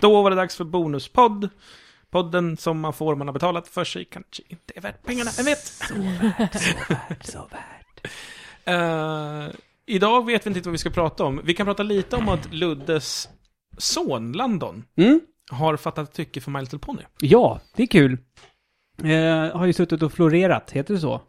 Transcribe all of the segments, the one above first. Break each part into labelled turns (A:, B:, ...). A: Då var det dags för bonuspodd. Podden som man får om man har betalat för sig kanske inte är värt pengarna, jag vet. Så värt, så värt, så värt. Eh, idag vet vi inte riktigt vad vi ska prata om. Vi kan prata lite om att Luddes son, Landon,
B: Mm?
A: har fattat tycke för My Little Pony.
B: Ja, det är kul. Eh, har ju suttit och florerat, heter det så?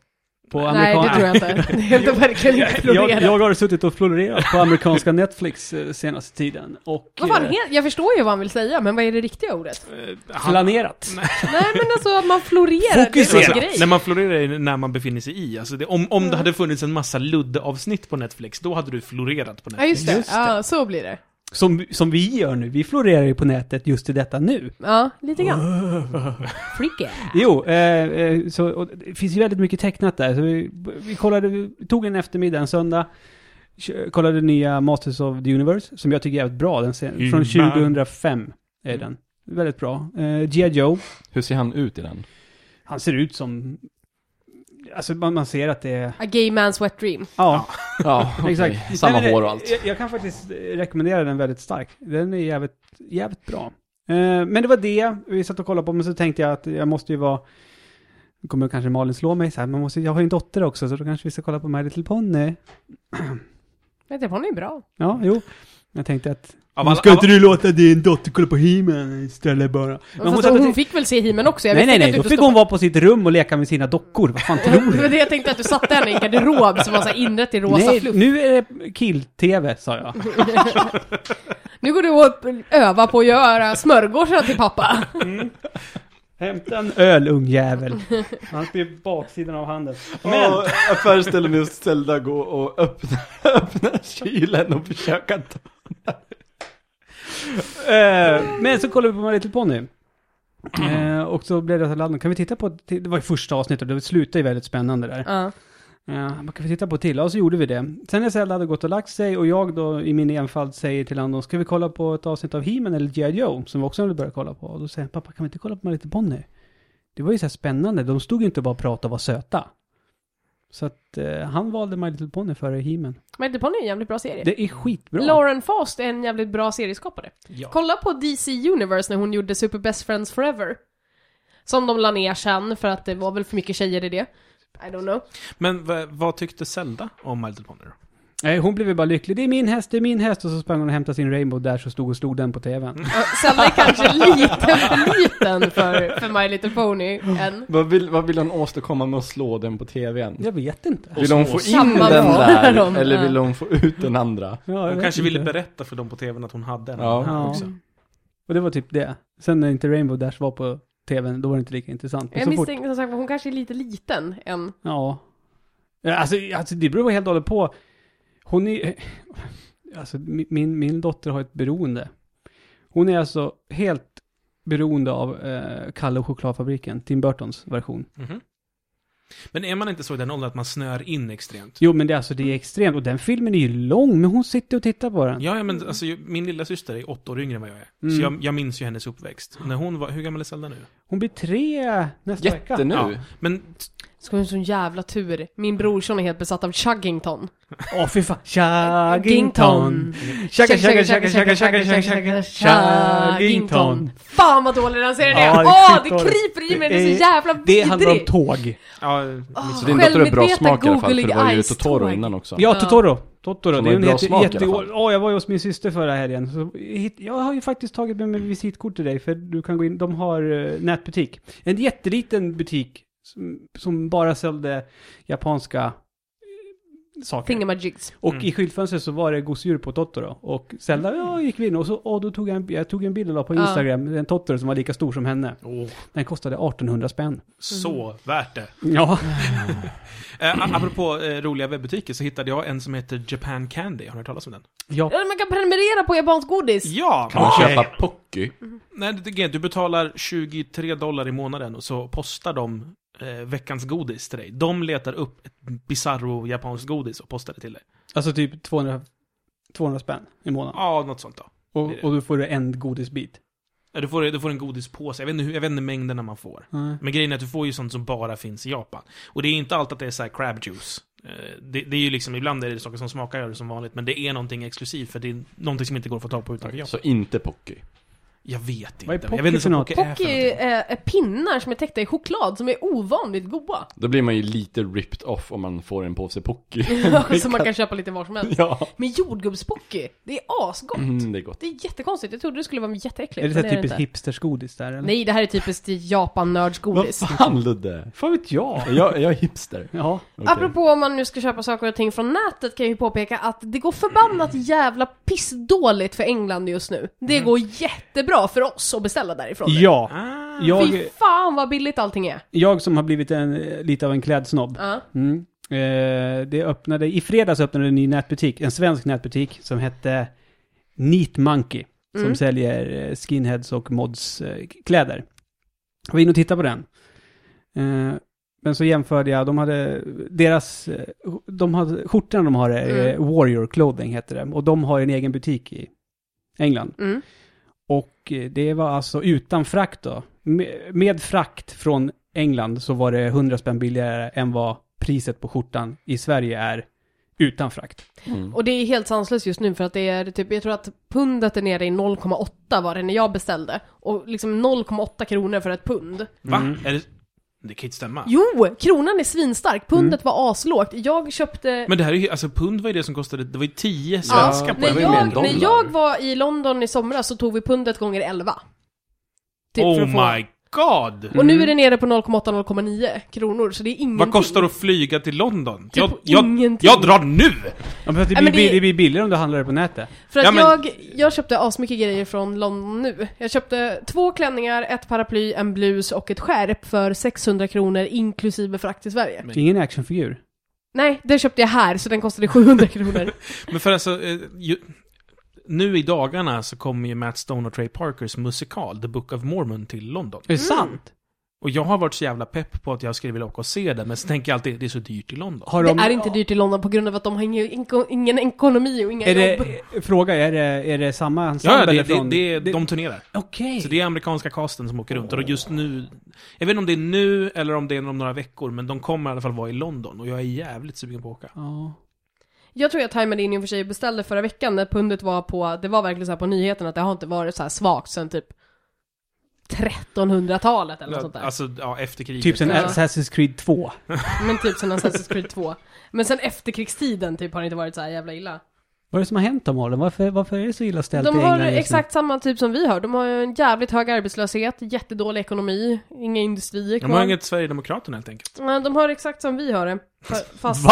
B: På
C: Nej, det tror jag inte. Det heter verkligen inte
B: jag,
C: florerat.
B: jag har suttit och florerat på amerikanska Netflix eh, senaste tiden. Och
C: Vad fan
B: eh,
C: heter, jag förstår ju vad han vill säga, men vad är det riktiga ordet?
A: Eh, han- Alltså,
B: planerat.
C: Nej, men alltså att man florerar, det är en grej.
A: När man florerar är det när man befinner sig i. Alltså det, om om det hade funnits en massa Ludde-avsnitt på Netflix, då hade du florerat på
C: Ja,
A: Netflix.
C: just det.
B: Just det.
C: Ja, så blir det.
B: Som, som vi gör nu. Vi florerar ju på nätet just i detta nu.
C: Ja, lite grann.
B: Ah.
C: Freaky.
B: Jo, eh, eh, så, och det finns ju väldigt mycket tecknat där. Så vi, vi kollade, vi tog en eftermiddag, en söndag, kö- kollade nya Masters of the Universe, som jag tycker är jävligt bra. Den sen, från
A: Hymna.
B: 2005 är den. Väldigt bra. Eh, G.I. Joe,
D: Hur ser han ut i den?
B: han ser ut som... Alltså man, man ser att det är...
C: A gay man's wet dream.
B: Ja,
D: Ja, okej.
B: exakt.
D: Samma
B: Nej, men det-
D: hår och allt.
B: Jag, jag kan faktiskt eh, rekommendera den väldigt starkt. Den är jävligt, jävligt bra. Eh, men det var det vi satt och kollade på, men så tänkte jag att jag måste ju vara... Nu kommer kanske Malin slå mig så här, men man måste, jag har ju en dotter också, så då kanske vi ska kolla på My Little Pony.
C: Vet du, hon är ju bra.
B: Ja, jo. Jag tänkte att...
A: Av
B: "Nu
A: alla-
B: ska
A: av-
B: inte du låta din dotter kolla på He-Man istället bara? Men hon
C: Fast
B: satt och
C: hon,
B: tänkte-
C: fick väl se He-Man också? Jag
B: nej, nej,
C: visste
B: nej.
C: inte
B: Då
C: att du
B: fick hon
C: stoppade-
B: vara på sitt rum och leka med sina dockor. Vad fan tror
C: Det
B: du?
C: var det jag tänkte att du satte henne i en garderob som var så här inrätt i rosa
B: Nej,
C: fluff.
B: nu är det kill-tv, sa jag.
C: Nu går du och övar på att göra smörgåsar till pappa.
B: Hämta en öl, ungjävel. Han blir baksidan av handen. Men,
D: Och affärsställen är ställda gå och öppna, öppna kylen och försöka ta...
B: eh, men så kollade vi på My Little Pony. Eh, och så blev det så här, kan vi titta på ett till? Det var ju första avsnittet och det slutade ju väldigt spännande där.
C: Ja.
B: Ja, man kan vi titta på ett till? Ja, så gjorde vi det. Sen när Zelda hade gått och lagt sig och jag då i min enfald säger till Andon, ska vi kolla på ett avsnitt av He-Man eller G.I. Joe? Som vi också hade börjat kolla på. Och då säger han, pappa kan vi inte kolla på My Little Pony? Det var ju så här spännande, de stod ju inte bara och pratade och var söta. Så att eh, han valde My Little Pony före He-Man.
C: Men Pony är en jävligt bra serie.
B: Det är skitbra.
C: Lauren Fast är en jävligt bra serieskapare.
A: Ja.
C: Kolla på DC Universe när hon gjorde Super Best Friends Forever. Som de la ner sen för att det var väl för mycket tjejer i det. I don't know.
A: Men vad, vad tyckte Zelda om My Little Pony då?
B: Nej, hon blev ju bara lycklig. Det är min häst, det är min häst. Och så sprang hon och hämtade sin Rainbow Dash och stod och slog den på tvn.
C: Och Zelda är kanske lite för liten för, för My Little Pony än.
D: Vad vill, vad vill hon åstadkomma med att slå den på tvn?
B: Jag vet inte.
D: Vill hon få in den
C: Samma
D: där?
C: val.
D: Eller vill hon få ut den andra?
B: Ja, jag
A: Hon
B: vet
A: kanske
B: inte.
A: ville berätta för dem på tvn att hon hade en.
D: Ja.
B: Ja.
A: också.
B: Och det var typ det. Sen när inte Rainbow Dash var på tvn, då var det inte lika intressant. Men
C: Jag
B: så fort-
C: misstänker som sagt hon kanske är lite liten än.
B: Ja. Ja, Alltså, alltså det beror helt och hållet på. Hon är... Alltså mi- min, min dotter har ett beroende. Hon är alltså helt beroende av eh, Kalle och chokladfabriken, Tim Burtons version.
A: Mhm. Men är man inte så i den åldern att man snör in extremt?
B: Jo men det, är alltså, det är extremt, och den filmen är ju lång, men hon sitter och tittar på den.
A: Ja, ja, men alltså, ju- min lilla syster är åtta år yngre än vad jag är.
B: Mm.
A: Så jag, jag minns ju hennes uppväxt. När hon var, hur gammal är Zelda nu?
B: Hon blir tre nästa vecka.
D: Jätte nu?
A: Ja. Men
C: Ska hon ha sån jävla tur. Min brorson är helt besatt av Chuggington.
B: Åh fy fan. Chuggington. Chugga, chugga, chugga, chugga, chugga, chugga, chugga. Chuggington.
C: Fan vad dålig den serien
B: Ja,
C: är!
B: det är
C: Åh, det
B: skitdåligt.
C: kryper i mig, den är
B: Det är-
C: så jävla
B: Det handlar om
C: vidrig!
B: tåg.
A: Ja,
D: Så din dotter har bra smak i alla fall, för det var ju
C: Eyes
D: Totoro
C: tåg.
D: innan också.
B: Ja,
C: Ja.
B: Totoro. Totoro.
D: Som
B: Det
D: har
B: är en
D: bra
B: jätte,
D: smak i alla
B: jätte,
D: fall.
B: Ja, jag var ju hos min syster förra helgen. Så hit, jag har ju faktiskt tagit med mig visitkort till dig, för du kan gå in. De har eh, nätbutik. En jätteliten butik som, som bara sålde japanska eh, saker.
C: Thingamajigs.
B: Och
A: Mm.
B: i skyltfönstret så var det gosedjur på Totoro. Och Zelda, ja, gick vi in och så, och då tog jag en, jag tog en bild och la på
C: Ja.
B: Instagram, en Totoro som var lika stor som henne.
A: åh,
B: Den kostade 1800 spänn.
A: så värt det.
B: Ja.
A: Eh, a- apropå eh, roliga webbutiker så hittade jag en som heter Japan Candy. Har ni hört talas om den?
B: ja.
C: Eller man kan prenumerera på japanskt godis!
A: Ja!
D: Kan man köpa Pocky?
A: Nej, det tycker jag inte. Du betalar 23 dollar i månaden och så postar de eh, veckans godis till dig. De letar upp ett bizarro japanskt godis och postar det till dig.
B: Alltså typ 200, 200 spänn i månaden.
A: Ja, något sånt då.
B: Och, och då får du en godisbit.
A: Ja, Du får, du får en godispåse. Jag vet, inte, hur- jag vet inte mängderna man får.
B: Nej.
A: Men grejen är att du får ju sånt som bara finns i Japan. Och det är inte alltid att det är så här crab juice. Eh, Det, det är ju liksom, ibland är det saker som smakar som vanligt, men det är någonting exklusivt för det är någonting som inte går att få tag på utanför Japan.
D: Så inte Pocky.
A: Jag vet inte.
B: Vad är
A: jag vet inte vad
B: Pocky
A: Pocky
B: för
A: är för
C: Pocky
A: någonting.
C: är, är eh, pinnar som är täckta i choklad som är ovanligt goda.
D: Då blir man ju lite ripped off om man får en påse Pocky.
C: som man kan köpa lite var som helst.
D: ja.
C: Men jordgubbspocky, det är asgott.
D: Mm, det är gott.
C: Det är jättekonstigt, jag trodde det skulle vara jätteäckligt.
B: Är det
C: men
B: så här
C: det
B: typiskt
C: inte.
B: hipstersgodis där eller?
C: Nej, det här är typiskt
D: Vad
C: Japan-nördsgodis.
D: fan Ludde?
B: Fan vet jag?
D: Är Jag, är jag hipster?
B: Ja.
D: Okej.
C: Apropå om man nu ska köpa saker och ting från nätet kan jag ju påpeka att det går förbannat jävla pissdåligt för England just nu. Det går jättebra för oss att beställa därifrån. nu.
B: Mm. Ja.
A: Ah,
B: Jag,
C: Fy fan vad billigt allting är.
B: jag som har blivit en, eh, lite av en klädsnobb.
C: Ja.
B: Mm. Eh, det öppnade, I fredags öppnade en ny nätbutik, en svensk nätbutik som hette Neat Monkey. Som
C: Mm.
B: säljer eh, skinheads och mods eh, kläder. Jag var inne och tittade på den. Eh, men så jämförde jag, de hade, deras, eh, de hade, skjortan de har är eh, Warrior Clothing heter det. Och de har en egen butik i England.
C: Mm.
B: Och eh, det var alltså utan frakt då. Med, med frakt från England så var det 100 spänn billigare än vad priset på skjortan i Sverige är utan frakt.
D: Mm.
C: Och det är helt sanslöst just nu för att det är typ, jag tror att pundet är nere i 0,8 var det när jag beställde. Och liksom 0,8 kronor för ett pund.
A: va?
B: Mm.
A: Är det... det kan ju inte stämma.
C: Jo, kronan är svinstark, pundet
A: Mm.
C: var aslågt. Jag köpte...
A: Men det här är ju, alltså pund var ju det som kostade, det var ju 10
C: Ja,
A: svenska på
D: det var
C: när,
A: en
D: ju mer än
C: jag,
A: pund.
D: dollar.
C: när jag var i London i somras så tog vi pundet gånger 11. Typ för
A: Oh
C: att få- Mm.
A: my god!
C: Och nu är det nere på 0,8-0,9 kronor, så det är ingenting.
A: Vad kostar det att flyga till London?
C: Typ
A: jag, jag,
C: ingenting.
A: jag drar nu!
B: Ja, men för att det, blir,
C: Nej, men det-
B: bill- det blir billigare om du handlar det på nätet.
C: För att
A: Ja, men-
C: jag, jag köpte asmycket grejer från London nu. Jag köpte två klänningar, ett paraply, en blus och ett skärp för 600 kronor inklusive frakt till Sverige.
A: Men-
B: Ingen actionfigur.
C: Nej, den köpte jag här, så den kostade 700 kronor.
A: Men för alltså, eh, ju, nu i dagarna så kommer ju Matt Stone och Trey Parkers musikal The Book of Mormon till London.
B: Är det sant?
A: Och jag har varit så jävla pepp på att jag skulle vilja åka och se den, men så tänker jag alltid det är så dyrt i London.
B: Har
C: Det är inte dyrt i London på grund av att de har ingen, ingen ekonomi och inga
B: Är
C: jobb.
B: det, fråga, är det, är det samma ensemble
A: Ja, ja, det, det,
B: från...
A: det, de turnerar.
B: Okej.
A: Så det är amerikanska casten som åker runt. Och just nu, jag vet inte om det är nu eller om det är om några veckor, men de kommer i alla fall vara i London. Och jag är jävligt sugen på att åka.
B: Ja.
C: Jag tror jag tajmade in i och för sig och beställde förra veckan när pundet var på, det var verkligen så här på nyheten att det har inte varit så här svagt sen typ 1300-talet eller något sånt där.
A: Alltså, ja, efter kriget.
B: Typ sen
C: Ja.
B: Assassin's Creed 2.
C: Men typ sen Assassin's Creed 2. Men sen efterkrigstiden typ har det inte varit så här jävla illa.
B: Vad är det som har hänt om Holland? Varför, varför är det så illa ställt
C: De
B: i
C: har
B: England just nu?
C: exakt samma typ som vi har. De har ju en jävligt hög arbetslöshet, jättedålig ekonomi, inga industrier
A: De har
C: kvar.
A: inget Sverigedemokraterna helt enkelt.
C: Nej, De har exakt som vi har det. Fa- Fast...
B: Va?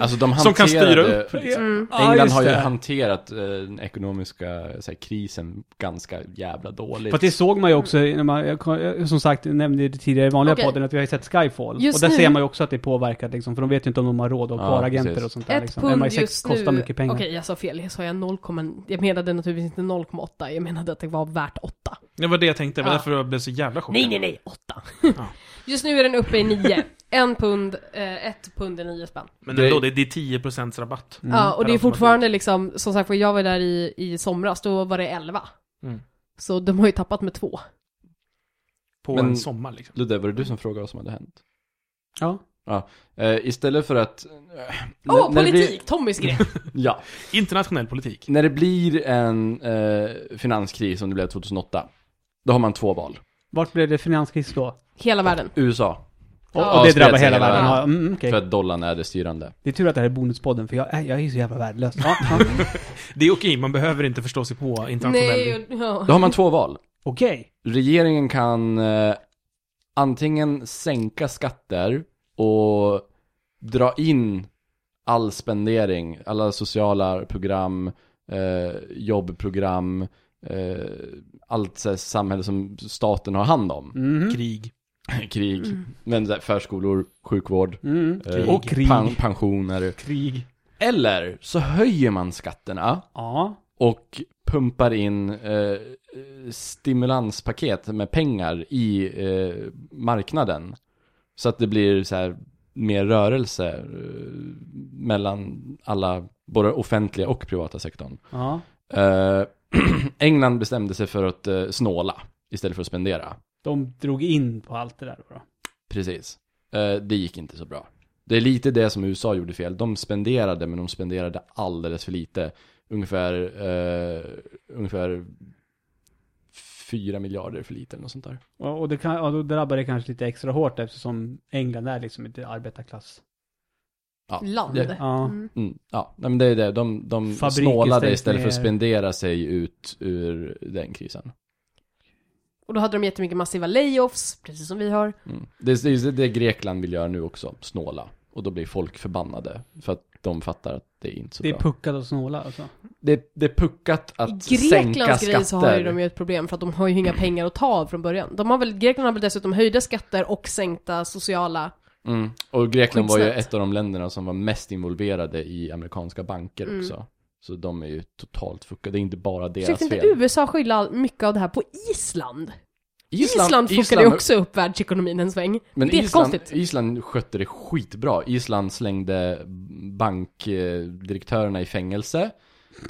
D: Alltså de hanterade...
A: Som kan styra upp.
C: Mm.
B: Ja,
D: England
B: just
D: har ju
B: det.
D: hanterat eh, den ekonomiska så här, krisen ganska jävla dåligt.
B: För att det såg man ju också, när man, jag kom- jag- som sagt, jag nämnde det tidigare i vanliga
C: Okej.
B: podden, att vi har ju sett Skyfall.
C: Just
B: och där
C: nu-
B: ser man ju också att det påverkar liksom, för de vet ju inte om de har råd och
D: Ja,
B: kvar agenter
D: precis.
B: och sånt där.
C: Ett
B: Liksom.
C: pund
B: MI6
C: just nu.
B: kostar mycket pengar.
C: Okej, jag sa fel. Jag sa jag 0, jag menade naturligtvis inte 0,8. Jag menade att det var värt 8.
A: Det var det jag tänkte, det var
C: Ja.
A: därför jag blev så jävla chockad.
C: Nej, nej, nej, 8.
A: Ja.
C: Just nu är den uppe i 9. En pund, eh, ett pund är 9 spänn.
A: Men ändå, det, det är 10% rabatt.
B: Mm.
C: Ja, och det är
A: Per
C: fortfarande liksom, som sagt var, jag var där i, i somras, då var det 11.
A: Mm.
C: Så de har ju tappat med två.
A: På
D: Men-
A: en sommar liksom.
D: Ludde, var det du som frågade vad som hade hänt?
B: Ja.
D: Eh, istället för att... eh,
C: Åh,
D: när- när det
C: politik! Tommys grej!
D: Blir, ja.
A: Internationell politik.
D: När det blir en eh, finanskris som det blev 2008, då har man två val.
B: Vart blev det finanskris då? Och,
C: Hela världen.
D: USA,
C: Ja.
B: och det
D: spred
B: drabbar
D: sig
B: hela
D: hela
B: världen.
D: världen.
B: Ja, mm, okej.
D: för att dollarn är det styrande.
B: Det är tur att det här är bonuspodden, för jag, är- jag är ju så jävla värdelös. Ja, ja.
A: Det är okej, man behöver inte förstå sig på internationell...
C: Nej, och- ja.
D: Då har man två val.
B: Okej.
D: Regeringen kan eh, antingen sänka skatter och dra in all spendering, alla sociala program, eh, jobbprogram, eh, allt så här samhälle som staten har hand om.
B: Mhm.
A: Krig.
D: Krig, men så här, förskolor, sjukvård,
B: Mm.
D: eh,
B: Och krig.
D: Pan- pensioner.
B: Krig.
D: Eller så höjer man skatterna
B: Ja.
D: och pumpar in eh, stimulanspaket med pengar i eh, marknaden. Så att det blir så här mer rörelse eh, mellan alla, både offentliga och privata sektorn.
B: ja.
D: Eh, England bestämde sig för att eh, snåla istället för att spendera.
B: De drog in på allt det där då.
D: Precis. Eh, det gick inte så bra. Det är lite det som USA gjorde fel. De spenderade, men de spenderade alldeles för lite. Ungefär, eh, ungefär 4 miljarder för lite eller något sånt där.
B: Och, och det kan, ja, då drabbar det kanske lite extra hårt eftersom England är liksom ett arbetarklass.
D: Ja.
C: Land.
D: Det-
B: Ja.
C: Mm.
D: Mm, ja, nej, men det är det. De, de
B: Fabriker
D: snålade
B: stängs
D: istället för att
B: ner.
D: spendera sig ut ur den krisen.
C: Och då hade de jättemycket massiva layoffs, precis som vi har.
D: Mm. Det är det, är det Grekland vill göra nu också, snåla. Och då blir folk förbannade för att de fattar att det är inte så
B: Det är
D: bra.
B: puckat och snåla alltså.
D: Det, det är puckat att
C: I
D: sänka
C: Greklands
D: skatter.
C: grej så har ju de ju ett problem för att de har ju inga pengar att ta av från början. De har väl, Grekland har väl dessutom höjda skatter och sänkta sociala...
D: Mm. Och Grekland var ju
C: Skitsnett.
D: ett av de länderna som var mest involverade i amerikanska banker
C: Mm.
D: också. Så de är ju totalt fuckade. Det är inte bara deras
C: Försökte inte
D: fel.
C: USA skylla all- mycket av det här på Island? Island, fuckade ju också upp världsekonomin en sväng.
D: Men
C: det är
D: Island,
C: konstigt.
D: Island skötte det skitbra. Island slängde bankdirektörerna i fängelse.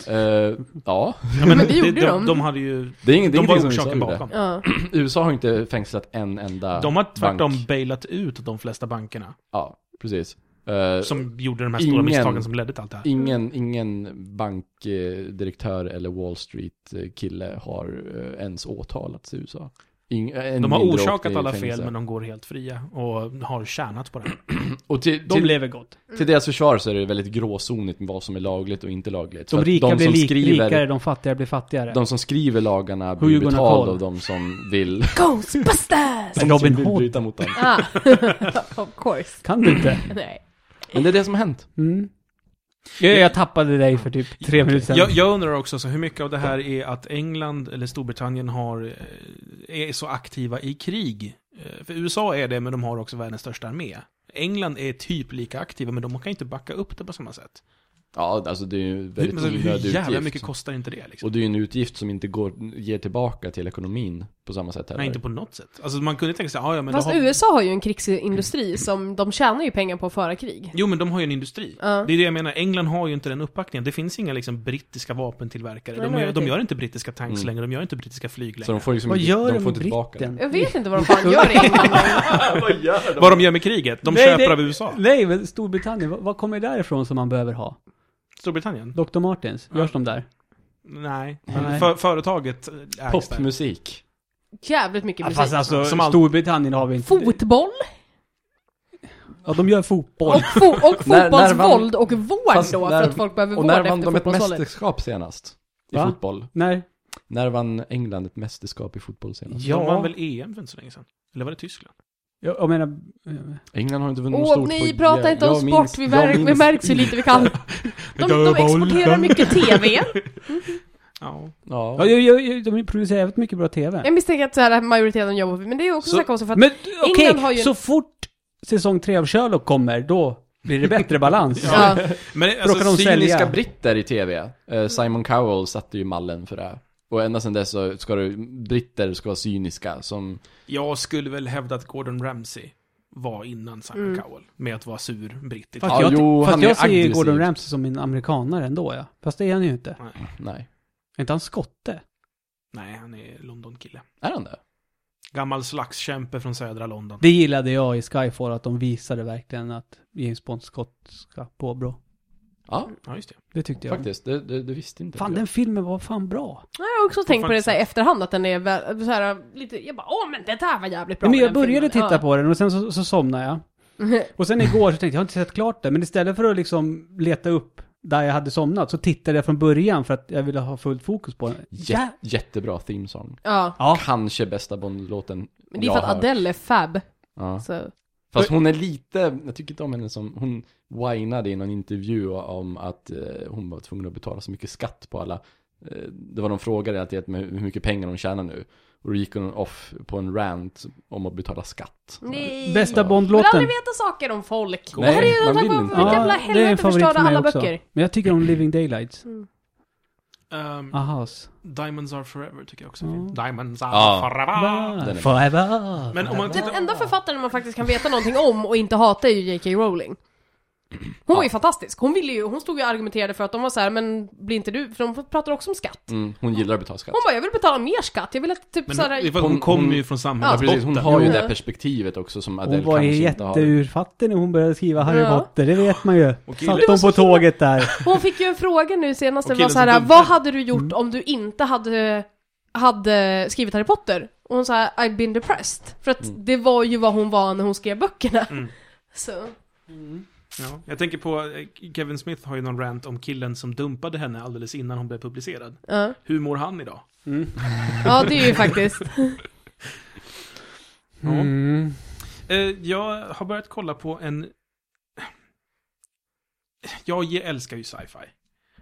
D: Eh, ja,
A: Ja, men
C: Men det gjorde
A: de,
C: de.
A: de. hade ju...
D: det är inget, det är
A: De var
D: ingenting som
A: orsaken
D: USA
A: bakom.
D: gjorde.
C: Ja.
D: USA har inte fängslat en enda
A: De har tvärtom
D: bank.
A: bailat ut de flesta bankerna.
D: Ja, precis. Eh,
A: Som gjorde de här
D: Ingen-
A: stora misstagen som ledde till allt det här.
D: Ingen, ingen bankdirektör eller Wall Street-kille har eh, ens åtalats i USA. Ing, eh, än
A: De har
D: mindre åkt
A: orsakat
D: i
A: alla fel,
D: fängelse.
A: men de går helt fria och har tjänat på det.
D: Och till,
B: De
D: till,
B: lever gott.
D: till deras försvar så är det väldigt gråzonigt med vad som är lagligt och inte lagligt. För
B: De
D: att
B: rika
D: de
B: blir
D: som
B: lik,
D: skriver,
B: rikare, de fattiga blir fattigare.
D: De som skriver lagarna
B: Who
D: blir
B: you gonna call?
D: betalda av de som vill.
C: Ghostbusters!
B: Men
D: de som
B: Robin
D: vill
B: Hood.
D: bryta mot dem.
C: ah, of course.
B: Kan du inte?
C: Nej.
D: Men det är det som har hänt.
B: Mm. Jag, jag tappade dig för typ tre minuter sedan.
A: Jag, jag undrar också, så hur mycket av det här är att England eller Storbritannien har, eh, är så aktiva i krig? Eh, För USA är det, men de har också världens största armé. England är typ lika aktiva, men de kan inte backa upp det på samma sätt.
D: Ja, alltså det är ju en väldigt
A: Hur, men, hur
D: onödig
A: jävla
D: utgift.
A: mycket kostar inte det? Liksom?
D: Och det är ju en utgift som inte går, ger tillbaka till ekonomin på samma sätt heller.
A: Nej, inte på något sätt. Alltså, man kunde tänka sig, ja, ja, men
C: Fast
A: då har...
C: USA har ju en krigsindustri som de tjänar ju pengar på att föra krig.
A: Jo, men de har ju en industri.
C: Ja.
A: Det är det jag menar, England har ju inte den uppbackningen. Det finns inga liksom, brittiska vapentillverkare.
C: Nej,
A: De,
C: nej,
A: gör, de
C: okej.
A: gör inte brittiska tanks
D: Mm.
A: längre, de gör inte brittiska flyg längre.
D: Så de får liksom
B: Vad
D: inte,
B: gör
D: de
B: de
D: får
B: med
D: inte tillbaka
B: britten?
C: Jag vet inte vad de fan gör i England.
D: Vad gör
A: Vad de gör med kriget? De
B: Nej,
A: köper
B: det-
A: av USA.
B: Nej, men Storbritannien, vad, vad kommer därifrån som man behöver ha?
A: Storbritannien?
B: Dr. Martens, görs de där?
A: Nej.
B: Nej.
A: För, företaget ägs där.
D: Popmusik.
C: Jävligt mycket musik.
B: Fast alltså,
A: Som allt-
B: Storbritannien har vi inte.
C: Fotboll
B: Ja, de gör fotboll.
C: och, fo och
D: När- när vann-
C: fotbollsvåld och vård
D: Fast
C: då,
D: när-
C: för att folk behöver
D: Och
C: vård
D: när vann
C: efter
D: de ett
C: fotbollsvåldet.
D: mästerskap senast? I
B: Va?
D: fotboll.
B: Nej.
D: När vann England ett mästerskap i fotboll senast?
A: De
B: Ja.
A: vann väl EM för inte så länge sedan? Eller var det Tyskland?
B: Jag, jag menar... eh,
D: England har inte vunnit något
C: Åh,
D: stort
C: ni
D: på-
C: pratar inte om
D: Jag
C: sport,
D: minns-
C: vi,
D: jag
C: mär vi
D: minns-
C: märks hur lite vi kan. De, de exporterar mycket TV.
A: Ja.
B: Ja,
D: Ja,
B: jag, jag, jag, de producerar jävligt mycket bra TV.
C: Jag misstänker att så här, majoriteten jobbar men det är också
D: Så-
C: så, här konstigt för att
B: Men okej,
C: har ju en-
B: så fort säsong tre av Sherlock kommer, då blir det bättre balans.
C: ja,
A: Men
B: Råkar de
A: alltså,
B: sälja?
D: Cyniska britter i tv. Eh, Simon Cowell satte ju mallen för det. Och ända sedan dess så ska du, britter ska vara cyniska som...
A: jag skulle väl hävda att Gordon Ramsay var innan Simon
C: Mm.
A: Cowell. Med att vara sur brittisk.
B: Fast
D: Ja,
B: jag,
D: jo, han
B: fast
D: är
B: jag ser ju
D: aggressiv.
B: Gordon Ramsay som en amerikanare ändå, ja. Fast det är han ju inte.
D: Nej.
B: Är inte han skotte?
A: Nej, han är London-kille.
D: Är han det?
A: Gammal slagskämpe från södra London.
B: Det gillade jag i Skyfall, att de visade verkligen att James Bond skottska påbrå.
D: Ja,
A: Ja, just det.
B: Det tyckte jag.
D: faktiskt. Det, det, det visste inte
B: Fan,
D: jag.
B: den filmen var fan bra.
C: jag har också tänkt på det så här i efterhand att den är väl, så här, lite, jag bara åh men det där var jävligt bra
B: Nej, men
C: med
B: jag
C: den
B: började
C: filmen."
B: titta
C: Ja.
B: på den och sen så, så somnade jag. Och sen igår så tänkte jag, jag har inte sett klart det. Men istället för att liksom leta upp där jag hade somnat så tittade jag från början för att jag ville ha fullt fokus på den.
D: Jä, jättebra themesång.
C: Ja,
B: Ja.
D: Kanske bästa Bond-låten
C: men det är
D: jag
C: för att
D: hört.
C: Adele är fab.
D: Ja.
C: Så.
D: Fast hon är lite, jag tycker inte om henne som, hon whinade i någon intervju om att eh, hon var tvungen att betala så mycket skatt på alla, eh, det var de frågade relaterat med hur mycket pengar hon tjänar nu. Och då gick hon off på en rant om att betala skatt.
C: Nej.
B: Bästa
C: Jag vill
B: Bondlåten.
C: aldrig veta saker om folk.
D: Nej,
C: det här är ju
D: man
C: något
D: vill
C: av
D: inte.
C: vilket jävla helvete förstörda alla
B: också.
C: böcker. Mm.
B: Men jag tycker om Living Daylights.
A: Ehm,
B: Ahas.
A: Diamonds are forever tycker jag också är
B: Ja.
A: fin. Diamonds are
D: Ja.
A: forever.
D: den är-
B: Forever.
A: Men om man
C: Den
A: tittar...
C: Typ enda författaren man faktiskt kan veta någonting om och inte hata är ju J.K. Rowling. Hon var ju fantastisk. Hon ville ju, hon stod ju och argumenterade för att de var så här, men blir inte du, för de pratar också om skatt.
D: Mm, hon gillar att betala skatt.
C: Hon bara, jag vill betala mer skatt, jag vill att typ
A: Men
C: så här,
A: hon, hon,
D: Hon-
A: kommer ju
D: hon-
A: från
D: Ja,
A: samhällets
D: precis, hon
A: botten.
D: har ju
C: Jo.
D: det här perspektivet också som Adele
B: Hon var
D: kanske
B: ju
D: inte har.
B: jätteurfattig när hon började skriva Harry
C: Ja. Alltså.
B: Potter, det vet man ju.
A: Och killen-
B: Satt hon på tåget där.
C: hon fick ju en fråga nu senast, det
A: Och
C: var
A: killen
C: så här,
A: som dumpade.
C: vad hade du gjort om du inte hade hade skrivit Harry Potter. Och hon sa I've been depressed. För att
D: Mm.
C: det var ju vad hon var när hon skrev böckerna.
A: Mm.
C: Så.
A: Ja. Jag tänker på, eh, Kevin Smith har ju någon rant om killen som dumpade henne alldeles innan hon blev publicerad.
C: Ja.
A: Hur mår han idag?
B: Mm.
C: ja, det är ju faktiskt.
A: Ja.
B: Mm.
A: Eh, jag har börjat kolla på en... Jag ge- älskar ju sci-fi.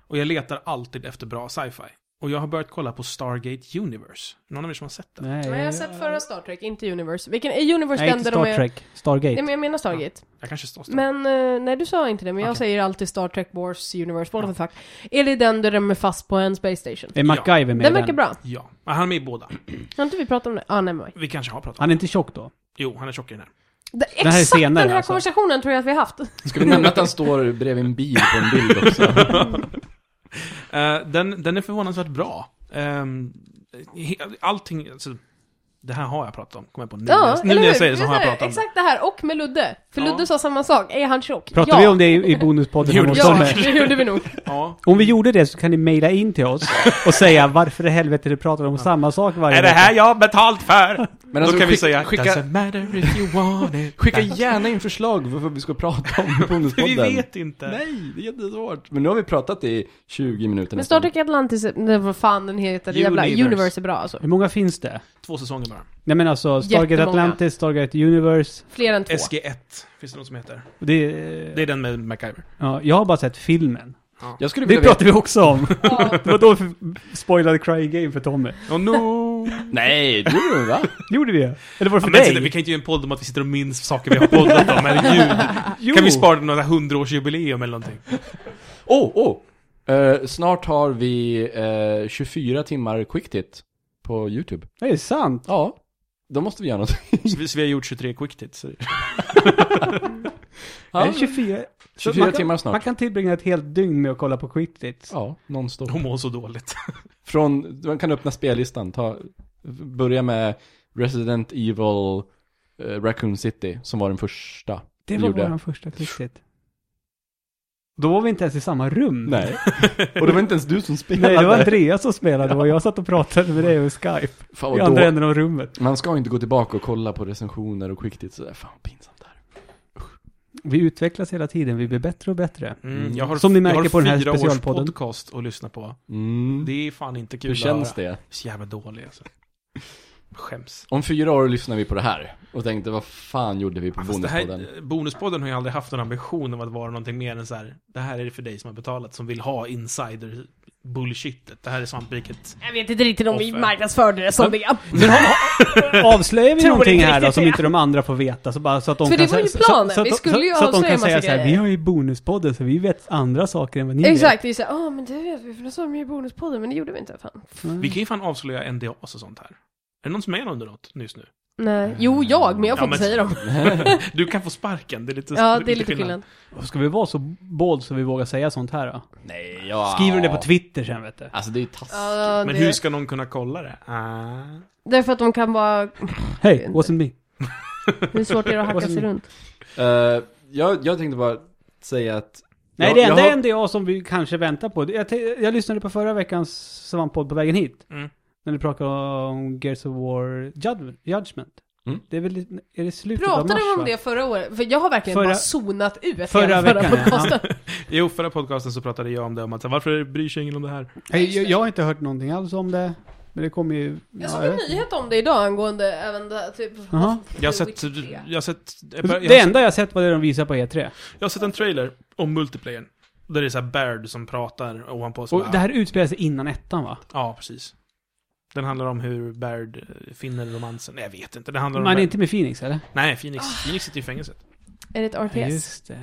A: Och jag letar alltid efter bra sci-fi. Och jag har börjat kolla på Stargate Universe. Någon av er som har sett den?
B: Nej,
C: Men jag har sett förra Star Trek, inte Universe. Vilken är Universe
B: Nej,
C: den
B: inte
C: där de
B: Star
C: är...
B: Trek. Stargate.
C: Nej men jag menar Stargate.
A: Jag kanske står men...
C: Men, eh, nej du sa inte det, men jag
A: Okej.
C: säger alltid Star Trek Wars Universe, what the fuck. Är det den där de är fast på en space station?
B: Är MacGyver med i
C: Den
B: den?
C: verkar bra.
A: Ja, men han är med i båda.
C: Har inte vi pratat om det? Ah, nej, men.
A: Vi kanske har pratat om
B: Han är inte tjock då?
A: Jo, han är tjockare än den här.
C: Det,
B: här är
C: exakt
B: senare,
C: den här
B: alltså.
C: konversationen tror jag att vi har haft.
D: Ska vi nämna att han står bredvid en bil på en bild också?
A: Eh, den, den är förvånansvärt bra. Ehm, he- allting, alltså, det här har jag pratat om, kommer jag på nu. när jag- nu
C: eller
A: när jag
C: hur?
A: säger det så
C: Vi
A: har jag
C: sa
A: pratat om det.
C: Exakt det här, och med Ludde. För
A: Ja.
C: Ludde sa samma sak, är han tjock?
B: Pratar
C: ja.
B: vi om det i, i bonuspodden?
A: Gjorde
B: om
A: vi.
B: oss
C: Ja,
B: med?
C: det gjorde vi nog.
A: Ja.
B: Om vi gjorde det så kan ni mejla in till oss och säga varför i helvete du pratar om samma sak varje
A: Är det
B: vecka.
A: här jag har betalt för?
D: Men
A: Då kan vi
D: skick-
A: säga,
D: skicka,
A: doesn't matter if you want it.
D: skicka gärna in förslag för vad vi ska prata om i
A: Vi
D: Bonuspodden.
A: vet inte.
D: Nej, det är jättesvårt. Men nu har vi pratat i 20 minuter
C: Men
D: nästan.
C: Star Trek Atlantis, nej, vad fan den heter, det jävla
A: Universe.
C: Universe är bra alltså.
B: Hur många finns det?
A: Två säsonger bara.
B: Nej men alltså, Stargate
C: Jättemånga.
B: Atlantis, Stargate Universe.
C: Fler än två.
A: SG1 finns det något som heter.
B: Det,
A: Det är den med MacGyver.
B: ja, jag har bara sett filmen.
D: Jag skulle
B: Det
D: vilja veta...
B: pratar vi också om.
C: Ja.
B: Det var då vi spoilade Crying Game för Tommy.
A: Oh no!
D: Nej, det gjorde du va?
B: Gjorde vi det? Eller
A: ja,
B: var det för
A: men,
B: dig?
A: sitta, vi kan inte göra en podd om att vi sitter och minns saker vi har poddat om, herregud.
B: Jo.
A: Kan vi spara det några hundraårsjubileum eller någonting?
D: Åh, åh! Eh, snart har vi eh, 24 timmar quick hit på YouTube.
B: Det är sant.
D: Ja, då måste vi göra något.
A: Så vi, så vi har gjort 23 quick tits.
B: Det
D: Ja,
B: är 24, Så
D: 24
B: man kan,
D: timmar snart.
B: Man kan tillbringa ett helt dygn med att kolla på Quidditch.
D: ja nonstop.
A: De mår så dåligt.
D: Från, man kan öppna spellistan, ta, börja med Resident Evil eh, Raccoon City, som var den första.
B: Det
D: vi
B: var
D: gjorde.
B: vår första Quidditch. Då var vi inte ens i samma rum.
D: Nej. Och det var inte ens du som spelade.
B: Nej, det var Andreas som spelade och jag satt och pratade med dig över Skype.
D: Fan,
B: I
D: vad
B: andra
D: då,
B: änden av rummet.
D: Man ska inte gå tillbaka och kolla på recensioner och quick hits sådär. Fan vad pinsamt det här.
B: Vi utvecklas hela tiden, vi blir bättre och bättre.
A: Mm, jag har,
B: Som ni märker
A: jag har
B: på den här
A: fyra års
B: specialpodden.
A: podcast att lyssna på.
D: Mm.
A: Det är fan inte kul
D: Hur känns
A: att höra.
D: det?
A: Så jävla dålig alltså. Skäms.
D: Om fyra år lyssnar vi på det här och tänkte vad fan gjorde vi på
A: Ja, fast det
D: Bonuspodden?
A: här, bonuspodden har ju aldrig haft någon ambition om att vara någonting mer än så här. Det här är det för dig som har betalat, som vill ha insider bullshitet. Det här är svampriket.
C: Jag vet inte riktigt om vi
A: Offer.
C: marknadsförde det som det.
B: Avslöjar vi
C: Tror
B: någonting
C: inte
B: här då
C: riktigt
B: som
C: det.
B: inte de andra får veta? Så, bara, så att de
C: För
B: kan
C: det var ju
B: säga-
C: planen.
B: Så, så,
C: Vi
B: så,
C: skulle ju
B: så, så att de
C: avslöja
B: kan säga
C: massa
B: så här, vi
C: grejer.
B: har ju bonuspodden så vi vet andra saker än vad ni
C: Exakt, vi säger ah men det vet vi för det sa de ju i Bonuspodden, men det gjorde vi inte. Fan.
B: vet. Mm.
A: Vi kan ju fan avslöja NDAs och sånt här. Är det någon som är under något just nu?
C: Nej. Jo, jag, men jag får
A: Eh, Ja,
C: inte
A: men-
C: säga dem.
A: Du kan få sparken, det är lite,
C: Ja, det är lite skillnad.
B: Ska vi vara så bold så vi vågar säga sånt här då?
D: Nej, ja.
B: Skriver du det på Twitter sen vet du?
D: Alltså det är ju taskigt.
C: Ja,
A: Men
C: det-
A: hur ska någon kunna kolla det? Ah.
C: Därför att de kan vara...
B: Hej, wasn't me.
C: Hur svårt är det att hacka sig runt?
D: Eh, jag, jag tänkte bara säga att...
B: Nej,
D: jag,
B: det
D: jag
B: enda
D: har-
B: jag NDA som vi kanske väntar på. Jag, te- jag lyssnade på förra veckans svamppodd på vägen hit.
A: Mm.
B: När ni pratade om Gears of War Judgment. Judgment.
D: Mm.
B: Det är väl, är det slutet av
C: Pratade
B: mars
C: vi om
B: va?
C: det förra året? För jag har verkligen
B: Förra-
C: bara zonat ut
B: förra
C: hela
B: veckan, ja.
C: podcasten.
A: Jo, förra podcasten så pratade jag om det, om att så här, varför bryr sig ingen om det här?
B: Nej, jag, jag har inte hört någonting alls om det. Men det kommer ju...
C: Jag
B: ja,
C: såg
B: jag
C: en
B: vet
C: nyhet om det idag angående även det här, typ...
B: Jaha.
A: Jag har
C: The
A: sett,
C: Witcher 3.
A: jag har sett, jag
B: inte.
A: har,
B: Det
A: jag
B: enda jag sett var det de visade på E E3.
A: har sett en trailer om multiplayern. Där det är så här Baird som pratar ovanpå. oss.
B: Och det här utspelar sig innan ettan va?
A: Ja, precis. Den handlar om hur Baird eh, finner romansen. Nej, jag vet inte. Det handlar om...
B: Man är inte med Phoenix eller?
A: Nej, Phoenix.
C: Ah.
A: Phoenix sitter i fängelset.
C: Är det ett RTS?
B: Just det.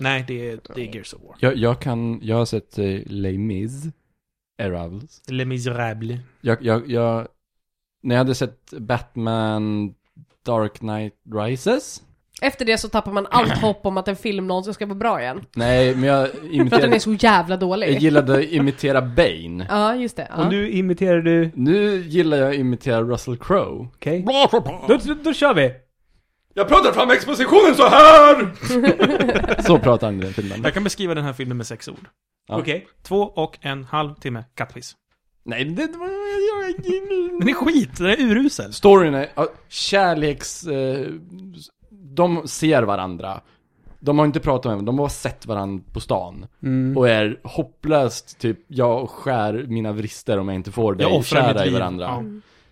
A: Nej, det är, det är Gears of War.
D: Jag, jag kan, jag har sett uh, Les Mis, Arrivals.
A: Les Misérables.
D: Jag, jag, jag, när jag hade sett Batman Dark Knight Rises?
C: Efter det så tappar man allt hopp om att en film någonsin ska vara bra igen.
D: Nej, men jag
C: För att den är
D: imiterade,
C: så jävla
D: jag
C: dålig.
D: gillade att imitera Bane.
C: Ja, just det. Ja.
B: Och nu imiterar du...
D: Nu gillar jag att imitera Russell Crowe.
B: Okej. Då, då, då kör vi!
D: Jag pratar fram expositionen så här! så pratar han i den filmen.
A: Jag kan beskriva den här filmen med sex ord.
D: Ja.
B: Okej.
A: Två och en halv timme kattpiss.
D: Nej, det, jag,
A: Den är skit, den är urusel.
D: Storyn är, ja, kärleks... Eh, de ser varandra. De har inte pratat med varandra, de har bara sett varandra på stan.
B: Mm.
D: Och är hopplöst typ, jag skär mina vrister om jag inte får
A: Jag
D: dig
A: offrar
D: kära
A: mitt
D: i
A: liv.
D: varandra.
A: Ja.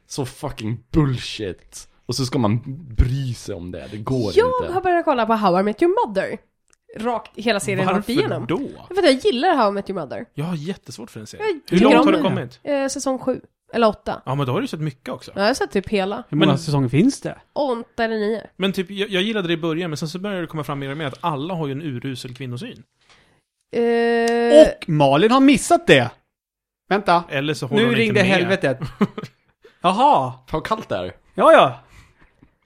D: Så fucking bullshit. Och så ska man bry sig om det, det går
C: Jag
D: inte.
C: har börjat kolla på How I Met Your Mother. Rakt, hela serien rakt igenom.
A: Varför då?
C: För att jag gillar How I Met Your Mother.
A: Jag har jättesvårt för den serien.
C: Jag
A: Hur
C: tycker
A: långt
C: om
A: har du
C: den.
A: kommit?
C: Eh, säsong sju, eller åtta.
A: Ja, men då har du sett mycket också.
C: Ja, jag har sett typ hela.
B: Hur många
A: Men-
B: säsonger finns det?
C: Åtta eller nio.
A: Men typ, jag, jag gillade det i början, men sen så började det komma fram mer och mer att alla har ju en urusel kvinnosyn.
C: Eh,
B: Och Malin har missat det! Vänta.
A: Eller så håller
B: Nu
A: hon inte
B: ringde
A: med.
B: helvetet. Jaha.
D: Vad kallt det är.
B: Ja, ja.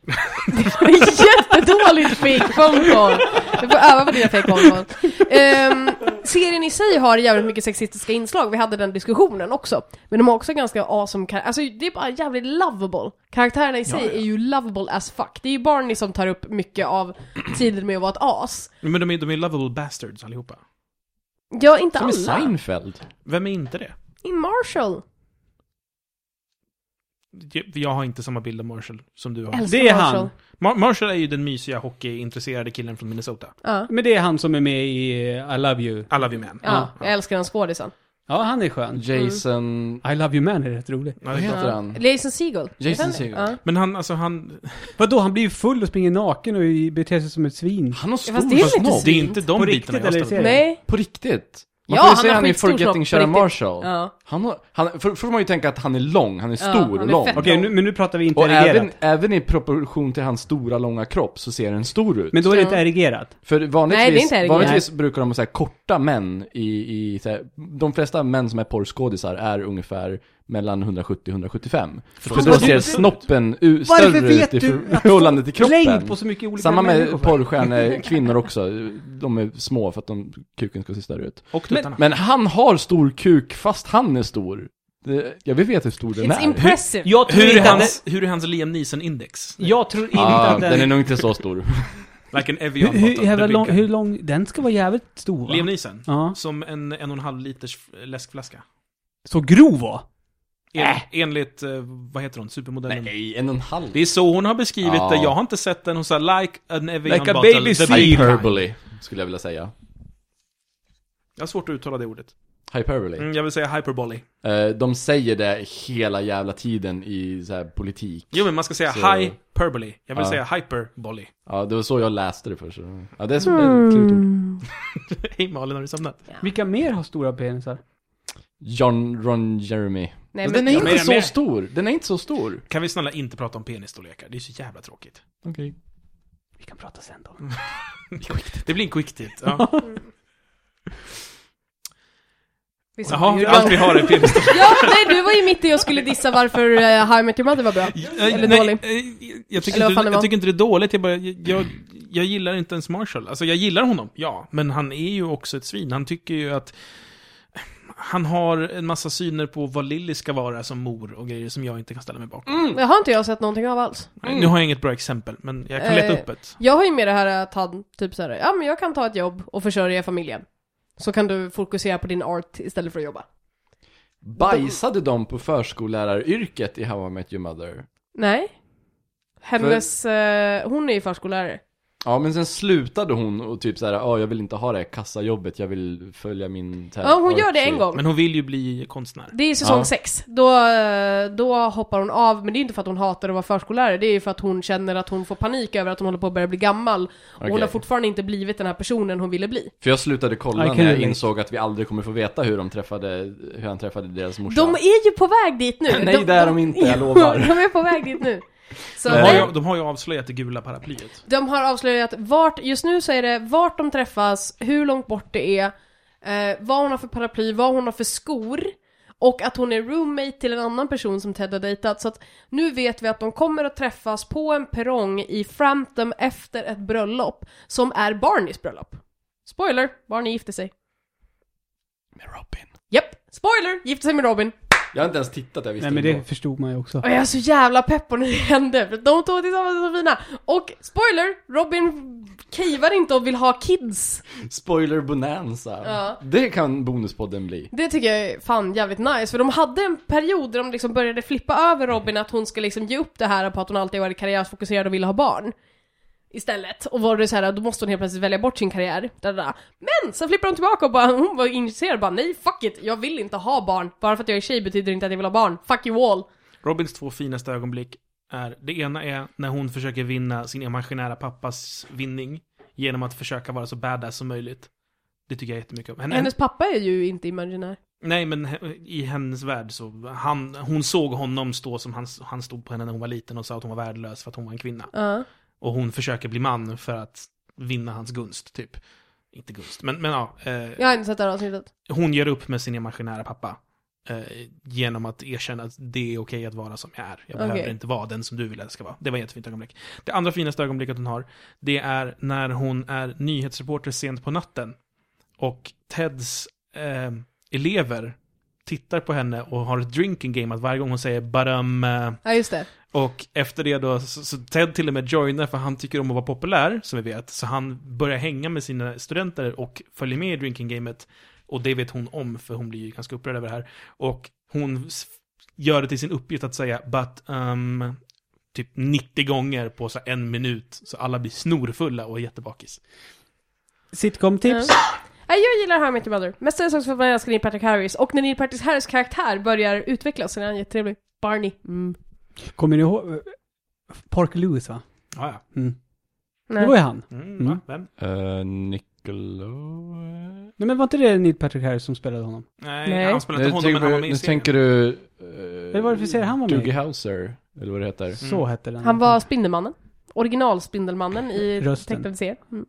C: Jättedåligt fake phone call. Du får öva på dina fake phone call. Ehm, serien i sig har jävligt mycket sexistiska inslag, vi hade den diskussionen också. Men de har också ganska awesome karaktärer, alltså det är bara jävligt lovable. Karaktärerna i sig
A: Ja, ja.
C: är ju lovable as fuck. Det är ju Barney som tar upp mycket av tiden med att vara ett as.
A: Men de är, de är lovable bastards allihopa.
C: Ja, inte
D: Som i
C: alla.
D: Seinfeld.
A: Vem är inte det?
C: I Marshall.
A: Jag, jag har inte samma bild av Marshall som du har.
C: Älskar
B: Det är han.
C: Marshall.
A: Mar- Marshall är ju den mysiga hockeyintresserade killen från Minnesota.
C: Ja.
B: Men det är han som är med i eh, I Love You.
A: I love you man.
C: Ja, jag älskar den skådisen.
B: Ja, han är skön.
C: Mm.
D: Jason...
B: I Love You Man är rätt rolig.
A: Ja,
D: Vad
A: det är
D: heter
A: klart.
D: han?
C: Jason Segel.
D: Jason Segel.
C: Ja.
A: Men han, alltså han...
B: Vadå, han blir ju full och springer naken och i- beter sig som ett svin.
D: Han har
C: Ja,
D: stor
C: fast det är väl inte
D: snobb.
A: Det är inte de
B: På riktigt,
A: bitarna jag
B: eller
A: har ställt
B: är det?
C: Nej.
D: På riktigt. Man
C: Ja,
D: får ju
C: han
D: se
C: har
D: han i
C: skitstor snopp, på
D: Forgetting Sarah
C: riktigt.
D: Marshall.
C: Ja.
D: Han har, han, för, för får man ju tänka att han är lång, han är stor
C: han är
D: och lång.
C: fett.
B: Okej, nu, men nu pratar vi inte
D: Och
B: erigerat.
D: även, även i proportion till hans stora långa kropp så ser den stor ut.
B: Men då är det
C: Ja.
B: inte erigerat.
D: För
C: Nej, det är
D: vanligtvis,
C: inte Eric
D: vanligtvis brukar de säga korta män i, i så här, de flesta män som är porrskådisar är ungefär mellan 170-175. För
A: Fan,
D: då
A: vad
D: ser
A: du-
D: snoppen u-
B: Varför
D: större
B: vet
D: ut i
B: du att-
D: förhållande till kroppen.
B: Längd på så mycket olika
D: Samma med
B: människor.
D: porrstjärnor, kvinnor också. De är små för att de, kuken ska se större ut.
A: Och tuttarna.
D: Men han har stor kuk fast han är stor. Det, jag vet hur stor den
C: It's
D: är.
C: impressive.
B: Jag tror
A: hur,
B: inte
A: är
B: att
A: hans,
B: det-
A: hur är hans Liam Neeson-index?
B: Jag tror inte
D: Ah,
B: att
D: den är
B: den...
D: nog inte så stor.
A: Like an Evian
B: Hur, hur,
A: bottle,
B: jävla
A: the
B: lång,
A: big guy.
B: hur lång... Den ska vara jävligt stor va?
A: Liam Neeson?
B: Ja.
A: Som en en och en halv liters läskflaska.
B: Så grov va?
A: En,
B: Äh.
A: Enligt, eh, vad heter hon, supermodellen?
D: Nej, en och en halv.
A: Det är så hon har beskrivit
D: Ja.
A: det, jag har inte sett den. Hon sa like an Evian
D: Like a
A: bottle,
D: baby
A: the big kind."
D: hyperbole, skulle jag vilja säga.
A: Jag har svårt att uttala det ordet.
D: Hyperbole.
A: Mm, jag vill säga hyperbole.
D: Eh, de säger det hela jävla tiden i så här politik.
A: Jo men man ska säga
D: Så-
A: hyperbole. Jag vill
D: Ja.
A: säga hyperbole.
D: Ja, det var så jag läste det först. så- Ja, det är så det är
C: Mm.
D: ett klurigt ord.
A: Hej Malin, har du somnat?
B: Vilka mer har stora penisar?
D: John Ron Jeremy.
C: Nej,
D: Men
C: men-
D: den är
C: Ja,
D: inte
A: men-
D: så
A: men-
D: stor. Den är inte så stor.
A: Kan vi snälla inte prata om penisstorlekar? Det är så jävla tråkigt.
D: Okej.
B: Vi kan prata sen då.
A: Det blir en quick tit. Ja.
C: Visst.
A: Jaha, allt vi har är penisstorlek.
C: Ja, nej du var ju mitt i och skulle dissa varför uh, How I Met Your Mother var bra. Eller
A: Nej,
C: dålig.
A: eh, Jag tycker,
C: Eller vad
A: inte,
C: fan det
A: jag
C: var.
A: tycker inte det är dåligt, jag, bara, jag, jag gillar inte ens Marshall. Alltså jag gillar honom, ja. Men han är ju också ett svin. Han tycker ju att... Han har en massa syner på vad Lilly ska vara som mor och grejer som jag inte kan ställa mig bakom.
C: Det har inte jag sett någonting av alls.
A: Nu har jag inget bra exempel, men jag kan leta
C: Eh,
A: upp ett.
C: Jag har ju med det här att han typ såhär, ja men jag kan ta ett jobb och försörja familjen. Så kan du fokusera på din art istället för att jobba.
D: Bajsade de på förskolläraryrket i How I Met Your Mother?
C: Nej. Hennes, eh, hon är ju förskollärare.
D: Ja, men sen slutade hon och typ så här, ja, jag vill inte ha det här kassajobbet, jag vill följa min... så här
C: Ja, hon gör det
D: artsy."
C: en gång.
A: Men hon vill ju bli konstnär.
C: Det är säsong
D: Ja.
C: sex. Då, eh, då hoppar hon av, men det är inte för att hon hatar att vara förskollärare, det är ju för att hon känner att hon får panik över att hon håller på att börja bli gammal. Och hon
D: Okej.
C: har fortfarande inte blivit den här personen hon ville bli.
D: För jag slutade
B: I
D: kolla
B: can
D: när jag
B: relate.
D: insåg att vi aldrig kommer få veta hur de träffade, hur han träffade deras morsa.
C: De är ju på väg dit nu!
D: Nej, det är de inte, jag lovar.
C: de är på väg dit nu. Så
A: De har,
C: nej,
A: ju, de har ju avslöjat det gula paraplyet.
C: de har avslöjat vart, just nu så är det vart de träffas, hur långt bort det är, eh, vad hon har för paraply, vad hon har för skor, och att hon är roommate till en annan person som Ted har dejtat. Så att nu vet vi att de kommer att träffas på en perrong i Frampton efter ett bröllop, som är Barneys bröllop. Spoiler, Barney gifte sig.
D: Med Robin.
C: Japp, spoiler, gifte sig med Robin.
D: Jag har inte ens tittat, jag visste
B: Nej men det
D: ändå.
B: förstod man ju också.
C: Och jag är så jävla pepp på när det hände, för de två tillsammans är så fina. Och spoiler, Robin cavar inte och vill ha kids.
D: Spoiler bonanza.
C: Ja.
D: Det kan bonuspodden bli.
C: Det tycker jag är fan jävligt nice, för de hade en period där de liksom började flippa över Robin att hon ska liksom ge upp det här på att hon alltid varit karriärsfokuserad och ville ha barn. Istället. Och var det så här, då måste hon helt plötsligt välja bort sin karriär. Da, da, da. Men sen flippar hon tillbaka och bara, hon var intresserad och bara nej fuck it, jag vill inte ha barn. Bara för att jag är tjej betyder inte att jag vill ha barn. Fuck you all.
A: Robins två finaste ögonblick är, det ena är när hon försöker vinna sin imaginära pappas vinning genom att försöka vara så badass som möjligt. Det tycker jag jättemycket om. Henne,
C: Hennes pappa är ju inte imaginär.
A: Nej, men he- i hennes värld så, han, hon såg honom stå som han, han stod på henne när hon var liten och sa att hon var värdelös för att hon var en kvinna.
C: Ja.
A: Och hon försöker bli man för att vinna hans gunst, typ. Inte gunst, men, men ja. Eh,
C: Jag har inte sett det här avsnittet.
A: Hon gör upp med sin imaginära pappa. Eh, genom att erkänna att det är okej att vara som jag är. Jag
C: Okej.
A: behöver inte vara den som du vill att jag ska vara. Det var ett jättefint ögonblick. Det andra finaste ögonblicket hon har, det är när hon är nyhetsreporter sent på natten. Och Teds eh, elever tittar på henne och har ett drinking game att varje gång hon säger badam eh,
C: Ja just det.
A: och efter det då, så, så Ted till och med joinar för han tycker om att vara populär, som vi vet. Så han börjar hänga med sina studenter och följer med i drinking gamet. Och det vet hon om, för hon blir ju ganska upprörd över det här. Och hon s- gör det till sin uppgift att säga but, um, typ 90 gånger på så här en minut. Så alla blir snorfulla och är jättebakis.
B: Sitcom-tips.
C: Nej, jag gillar How I Met Your Mother. Mest är det också för att jag älskar Neil Patrick Harris. Och när Neil Patrick Harris karaktär börjar utvecklas så är han jättetrevlig. Barney. Mm.
B: Kommer ni ihåg? eh, Parker Lewis va?
A: Ah, ja.
B: Mm.
C: Nej.
B: Det var ju han.
A: Mm,
B: Mm.
A: va? Vem?
D: Uh, Nickelodeon?
B: Nej men var inte det Neil Patrick Harris som spelade honom?
A: Nej,
C: Nej.
A: han spelar
D: Nu
A: inte honom, men han var med i
D: tänker, nu
A: serien.
D: tänker du...
B: Vad var det för serie han var med i?
D: Doogie Howser, eller vad det heter.
B: Så hette den.
C: Han var Spindelmannen. Originalspindelmannen i
B: Mm. Rösten.
C: tecknade serien. Mm.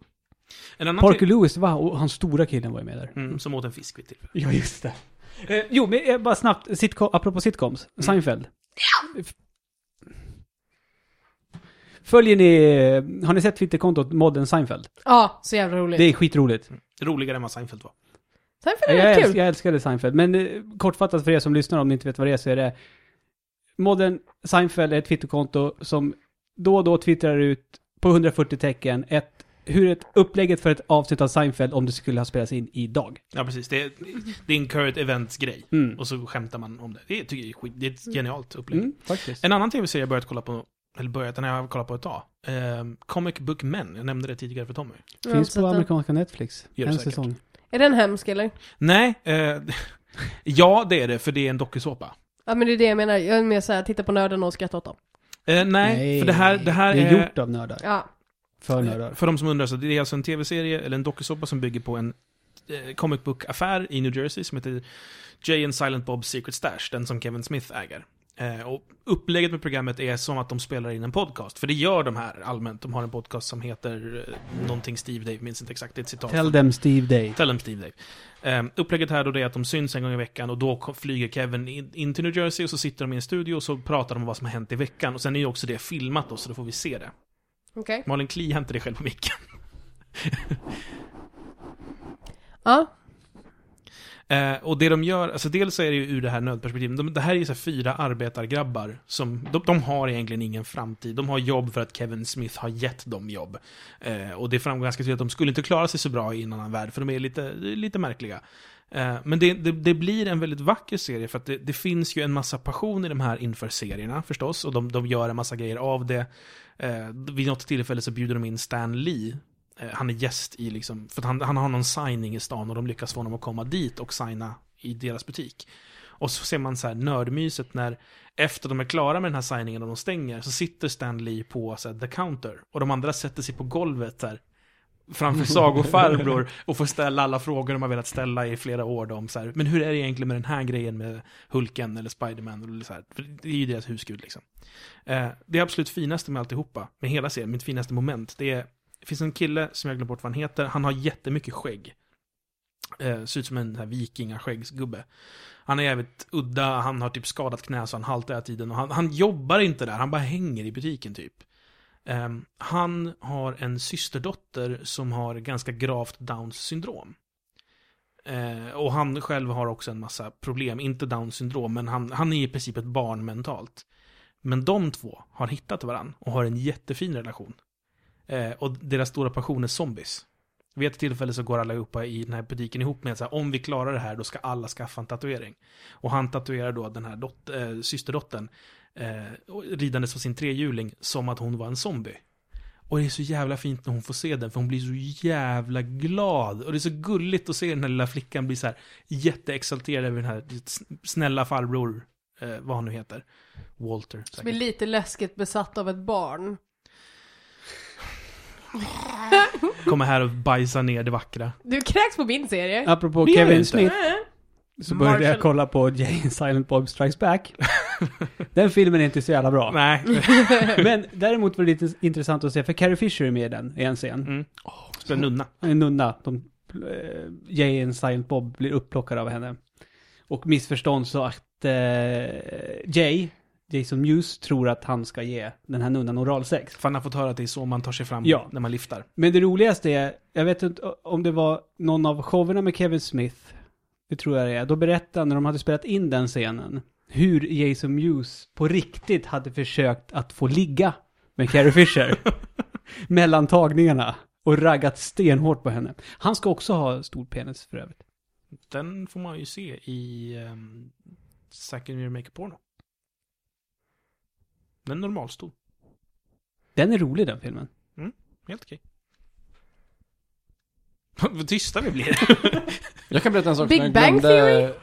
A: En annan
B: Parker Lewis, va? Och hans stora killen var ju med där.
A: till- mm, som åt en fisk vid tillfälle.
B: Ja, just det. Eh, jo, men eh, bara snabbt, sitcom, apropå sitcoms, Seinfeld. F- Följer ni, eh, har ni sett twitterkontot Modern Seinfeld?
C: Ja, så jävla roligt.
B: Det är skitroligt.
A: Roligare än vad Seinfeld var.
C: Sen
B: Jag,
C: finner jag
B: jag,
C: det
B: älsk,
C: kul.
B: jag älskade Seinfeld, men eh, kortfattat för er som lyssnar om ni inte vet vad det är så är det Modern Seinfeld är ett twitterkonto som då och då twittrar ut på 140 tecken ett, hur ett upplägget för ett avsnitt av Seinfeld om det skulle ha spelats in idag.
A: Ja, precis. Det, det är en current events-grej.
B: Mm.
A: Och så skämtar man om det. Det tycker jag är skit. Det är ett genialt upplägg.
B: Mm, faktiskt.
A: En annan tv-serie jag börjat kolla på, eller börjat, den har jag kollat på ett tag. Ehm, Comic Book Men, jag nämnde det tidigare för Tommy.
C: Jag har inte
B: Finns
C: sett
B: på
C: den.
B: amerikanska Netflix.
A: Gör det
B: en
A: säkert.
B: säsong.
C: eh, Är den hemsk eller?
A: Nej, eh, ja det är det, för det är en dokusåpa.
C: Ja men det är det jag menar. Jag är mer såhär, titta på nörden och skratta åt dem.
A: Eh, nej, för det här, det här
B: det
A: är...
B: är gjort av nördar.
C: Ja.
B: För nördar.
A: För de som undrar, så det är alltså en tv-serie, eller en dokusåpa som bygger på en eh, comic book-affär i New Jersey som heter Jay and Silent Bob's Secret Stash, den som Kevin Smith äger. Eh, och upplägget med programmet är som att de spelar in en podcast, för det gör de här allmänt. De har en podcast som heter eh, någonting Steve Dave, minns inte exakt, det är ett citat.
B: Tell them Steve Day.
A: Tell them Steve Dave. Ehm, upplägget här då det är att de syns en gång i veckan och då kom- flyger Kevin in, in till New Jersey och så sitter de i en studio och så pratar de om vad som har hänt i veckan. Och sen är ju också det filmat då, så då får vi se det.
C: Okej.
A: Malin Kli hämtar dig själv på micken.
C: Ja.
A: Eh, och det de gör, alltså dels så är det ju ur det här nödperspektivet, de, det här är ju så här fyra arbetargrabbar som, de, de har egentligen ingen framtid. De har jobb för att Kevin Smith har gett dem jobb. Eh, och det framgår ganska tydligt att de skulle inte klara sig så bra i en annan värld, för de är lite, lite märkliga. Eh, men det, det, det blir en väldigt vacker serie, för att det, det finns ju en massa passion i de här inför serierna förstås, och de, de gör en massa grejer av det. Eh, vid något tillfälle så bjuder de in Stan Lee, Eh, han är gäst i liksom, för att han, han har någon signing i stan och de lyckas få honom att komma dit och signa i deras butik. Och så ser man så här nördmyset när efter de är klara med den här signingen och de stänger så sitter Stanley på så här, the counter och de andra sätter sig på golvet där framför sagofarbror och får ställa alla frågor de har velat ställa i flera år då, om så här, men hur är det egentligen med den här grejen med Hulken eller Spiderman eller så här, för det är ju deras husgud liksom. Eh, det absolut finaste med alltihopa, med hela serien, mitt finaste moment, det är det finns en kille som jag glömde bort vad han heter. Han har jättemycket skägg. Eh, ser ut som en sån här vikingaskäggsgubbe. Han är jävligt udda, han har typ skadat knä så han haltar hela tiden. Och han, han jobbar inte där, han bara hänger i butiken typ. Ehm, han har en systerdotter som har ganska gravt Downs syndrom. Eh, och han själv har också en massa problem, inte down syndrom, men han, han är i princip ett barn mentalt. Men de två har hittat varandra och har en jättefin relation. Eh, och deras stora passion är zombies. Vid ett tillfälle så går allihopa i den här butiken ihop med att om vi klarar det här då ska alla skaffa en tatuering. Och han tatuerar då den här dot- eh, systerdottern eh, och- ridandes på sin trehjuling som att hon var en zombie. Och det är så jävla fint när hon får se den, för hon blir så jävla glad. Och det är så gulligt att se den här lilla flickan bli så här jätteexalterad över den här snälla farbror, eh, vad han nu heter. Walter,
C: Som är
A: säkert.
C: lite läskigt besatt av ett barn.
A: Kommer här och bajsar ner det vackra.
C: Du kräks på min serie.
B: Apropå
A: Det gör det
B: Kevin
A: inte.
B: Smith så började jag
A: Marshall-
B: kolla på Jane Silent Bob Strikes Back. Den filmen är inte så jävla bra.
A: Nej.
B: Men däremot var det lite intressant att se, för Carrie Fisher är med i den i en scen.
A: Mm. Spelar nunna.
B: En nunna. De, eh, Jane Silent Bob blir upplockad av henne. Och missförstånd så att eh, Jay, Jason Mewes, tror att han ska ge den här nunnan oralsex.
A: För han har fått höra att det är så man tar sig fram
B: Ja.
A: när man lyfter.
B: Men det roligaste är, jag vet inte om det var någon av showerna med Kevin Smith, det tror jag det är, då berättade han när de hade spelat in den scenen, hur Jason Mewes på riktigt hade försökt att få ligga med Carrie Fisher mellan tagningarna och raggat stenhårt på henne. Han ska också ha stor penis för övrigt.
A: Den får man ju se i um, Second Year Make a Porno. Den är normalstor.
B: Den är rolig den filmen.
A: Helt okej. Vad tysta vi blir.
D: Jag kan berätta en sak
C: Big
D: som jag
C: Bang
D: glömde
C: Theory?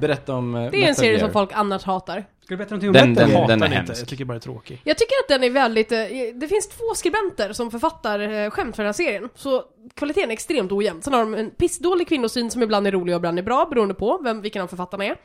D: berätta om eh,
C: Det är en
D: Metal
C: serie
D: Gear.
C: som folk annars hatar.
B: Ska du berätta någonting om
D: Den-
B: Metal
A: Jag
B: Gear?
A: hatar
D: den är
A: den inte.
D: hemsk.
A: Jag tycker bara det är tråkig.
C: Jag tycker att den är väldigt, eh, det finns två skribenter som författar eh, skämt för den här serien, så kvaliteten är extremt ojämn. Sen har de en pissdålig kvinnosyn som ibland är rolig och ibland är bra, beroende på vem, vilken av författarna är.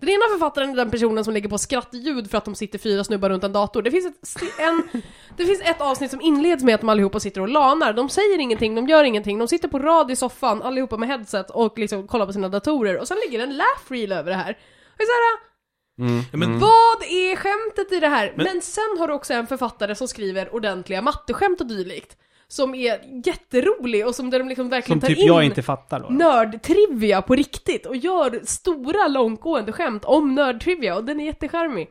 C: Den ena författaren är den personen som lägger på skrattljud för att de sitter fyra snubbar runt en dator. Det finns ett, st- en, det finns ett avsnitt som inleds med att de allihopa sitter och lanar. De säger ingenting, de gör ingenting, de sitter på rad i soffan, allihopa med headset och liksom kollar på sina datorer. Och sen ligger en laugh reel över det här. Och så här
D: Mm,
A: Ja, men
D: mm.
C: vad är skämtet i det här? Men,
A: Men-
C: sen har du också en författare som skriver ordentliga matteskämt och dylikt. Som är jätterolig och som där de liksom verkligen
B: Som
C: tar
B: typ
C: in
B: jag inte fattar då.
C: nördtrivia på riktigt och gör stora långtgående skämt om nördtrivia och den är jättecharmig.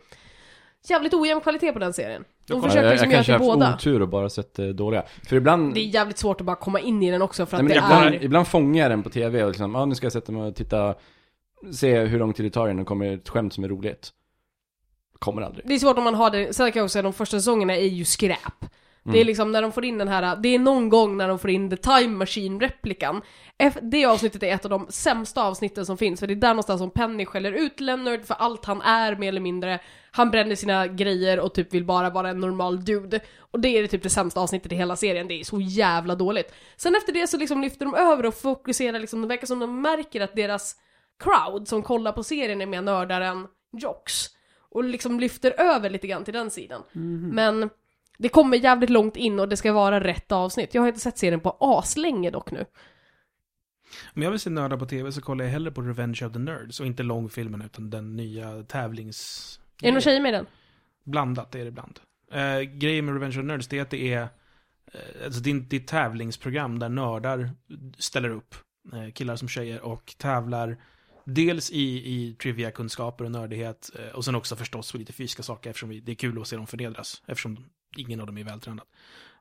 C: Jävligt ojämn kvalitet på den serien. De
A: Jag
D: Ja,
A: kollar-
C: försöker
D: jag,
C: liksom
D: jag
C: göra
D: kanske
C: till
D: har haft
C: båda.
D: otur och bara sett eh, dåliga. För ibland...
C: Det är jävligt svårt att bara komma in i den också för att
D: Nej, men
C: det
D: ibland,
C: är...
D: ibland fångar jag den på tv och liksom, ja ah, nu ska jag sätta mig och titta, se hur lång tid det tar innan det kommer ett skämt som är roligt. Kommer aldrig.
C: Det är svårt om man har det, sen kan jag också säga de första säsongerna är ju skräp. Det är liksom när de får in den här, det är någon gång när de får in the time machine-replikan. Eff- Det avsnittet är ett av de sämsta avsnitten som finns, för det är där någonstans som Penny skäller ut Leonard för allt han är mer eller mindre. Han bränner sina grejer och typ vill bara vara en normal dude. Och det är typ det sämsta avsnittet i hela serien, det är så jävla dåligt. Sen efter det så liksom lyfter de över och fokuserar liksom, det verkar som de märker att deras crowd som kollar på serien är mer nördare än jocks. Och liksom lyfter över lite grann till den sidan.
A: Mhm.
C: Men det kommer jävligt långt in och det ska vara rätt avsnitt. Jag har inte sett serien på aslänge dock nu.
A: Om jag vill se nördar på tv så kollar jag hellre på Revenge of the Nerds. Och inte långfilmen utan den nya tävlings...
C: Är det någon tjej med i den?
A: Blandat är det ibland. Eh, grejen med Revenge of the Nerds det är att det är... eh, Alltså det är inte- det är ett tävlingsprogram där nördar ställer upp. eh, killar som tjejer och tävlar. Dels i, i trivia-kunskaper och nördighet. eh, och sen också förstås för lite fysiska saker eftersom vi, det är kul att se dem förnedras. Eftersom ingen av dem är vältränad.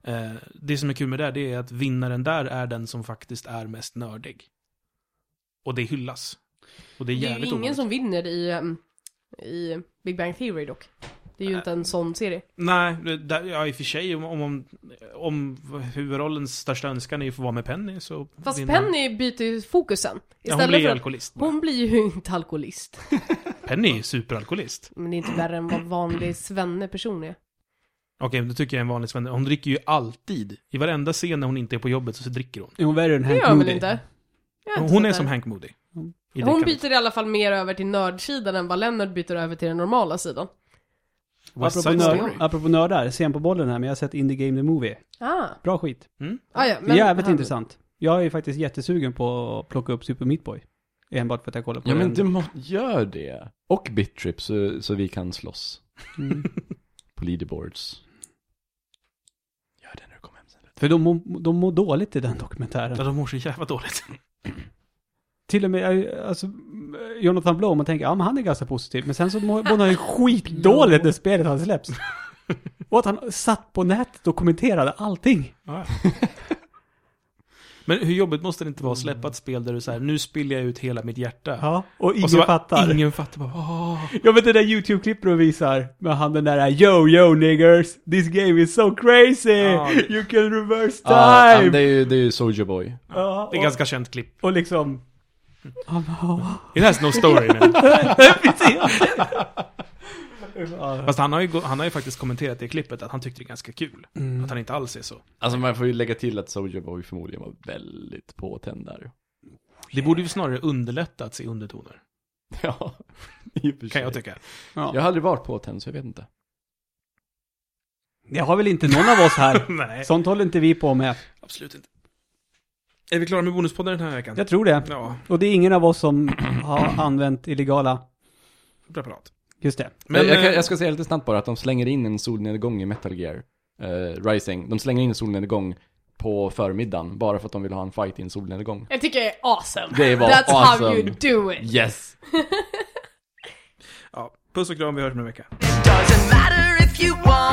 A: Eh, det som är kul med det här, det är att vinnaren där är den som faktiskt är mest nördig. Och det hyllas. Och det är
C: Det är ju
A: jävligt
C: ingen
A: ovanligt.
C: som vinner i, ehm, i Big Bang Theory dock. Det är ju
A: Äh.
C: inte en sån serie.
A: Nej, det- där, ja, i och för sig om, om, om, om huvudrollens största önskan är ju att få vara med Penny så...
C: Fast
A: vinner-
C: Penny byter ju fokus sen.
A: Ja, hon blir
C: för
A: ju
C: att-
A: alkoholist.
C: Hon blir ju inte alkoholist.
A: Penny är ju superalkoholist.
C: Men det är inte värre än vad vanlig svenne-person är.
A: Okej, men det tycker jag är en vanlig svenne. Hon dricker ju alltid. I varenda scen när hon inte är på jobbet så dricker hon.
B: Är hon värre än
C: Det
B: Hank
C: gör hon väl
B: Moody?
C: inte? Jag har inte
A: Hon
C: sett
A: är
C: det.
A: som Hank Moody.
B: Mm.
A: I
C: Hon
A: det
C: byter i alla fall mer över till nördsidan än vad Leonard byter över till den normala sidan.
A: West
B: Apropå,
A: Side
B: nörd,
A: Story.
B: apropå nördar, sen på bollen här, men jag har sett Indie Game The Movie.
C: Ah,
B: Bra skit.
C: ah ja,
B: Det är jävligt intressant. Jag är faktiskt jättesugen på att plocka upp Super Meat Boy. Enbart för att jag kollar på
D: Ja men
B: den.
D: du må, gör det. Och BitTrip så, så vi kan slåss
B: Mm.
D: på leaderboards. Gör det när du kommer hem sen.
B: För de mår de må dåligt i den dokumentären.
A: Ja, de mår så jävla dåligt.
B: till och med, eh, alltså, eh, Jonathan Blow, man tänker, ja men han är ganska positiv. Men sen så mår mår han ju skitdåligt när spelet han släpps. Och att han satt på nätet och kommenterade allting.
A: Ja. Men hur jobbigt måste det inte vara att släppa ett spel där du säger nu spiller jag ut hela mitt hjärta.
B: Ja, och ingen
A: och så bara,
B: fattar.
A: Ingen fattar bara, "Åh."
B: Jag vet det där YouTube-klippet de visar med han den där Yo yo niggers, this game is so crazy!
A: Ja, det-
B: You can reverse
D: Ja,
B: time!
D: men det är ju, det är ju Soldier Boy.
B: Ja,
A: Det är
B: och,
A: ganska känt klipp.
B: och liksom... Ja,
A: It has no story man.
B: precis. Ja.
A: Fast han har, ju, gå- han har ju faktiskt kommenterat det i klippet att han tyckte det är ganska kul.
D: Mm.
A: Att han inte alls är så.
D: Alltså man får ju lägga till att Soldier Boy förmodligen var väldigt påtänd där.
A: Det borde ju snarare underlätta att se undertoner.
D: Ja, i och för
A: Kan jag
D: sig.
A: tycka.
D: Jag har aldrig varit påtänd så jag vet inte.
B: Det har väl inte någon av oss här.
A: Nej,
B: Sånt håller inte vi på med.
A: absolut inte. Är vi klara med bonuspodden den här veckan?
B: Jag tror det.
A: Ja,
B: Och det är ingen av oss som har använt illegala.
A: preparat.
B: Just det.
A: Men,
D: jag, kan,
A: eh,
D: jag ska säga lite snabbt bara att de slänger in en solnedgång i Metal Gear eh, Rising. De slänger in en solnedgång på förmiddagen bara för att de vill ha en fight i en solnedgång.
C: Jag tycker det är awesome.
D: Det var
C: That's how
D: awesome.
C: you do it.
D: Yes!
A: ja, puss och kram, vi hörs om en vecka.
E: Doesn't matter if you won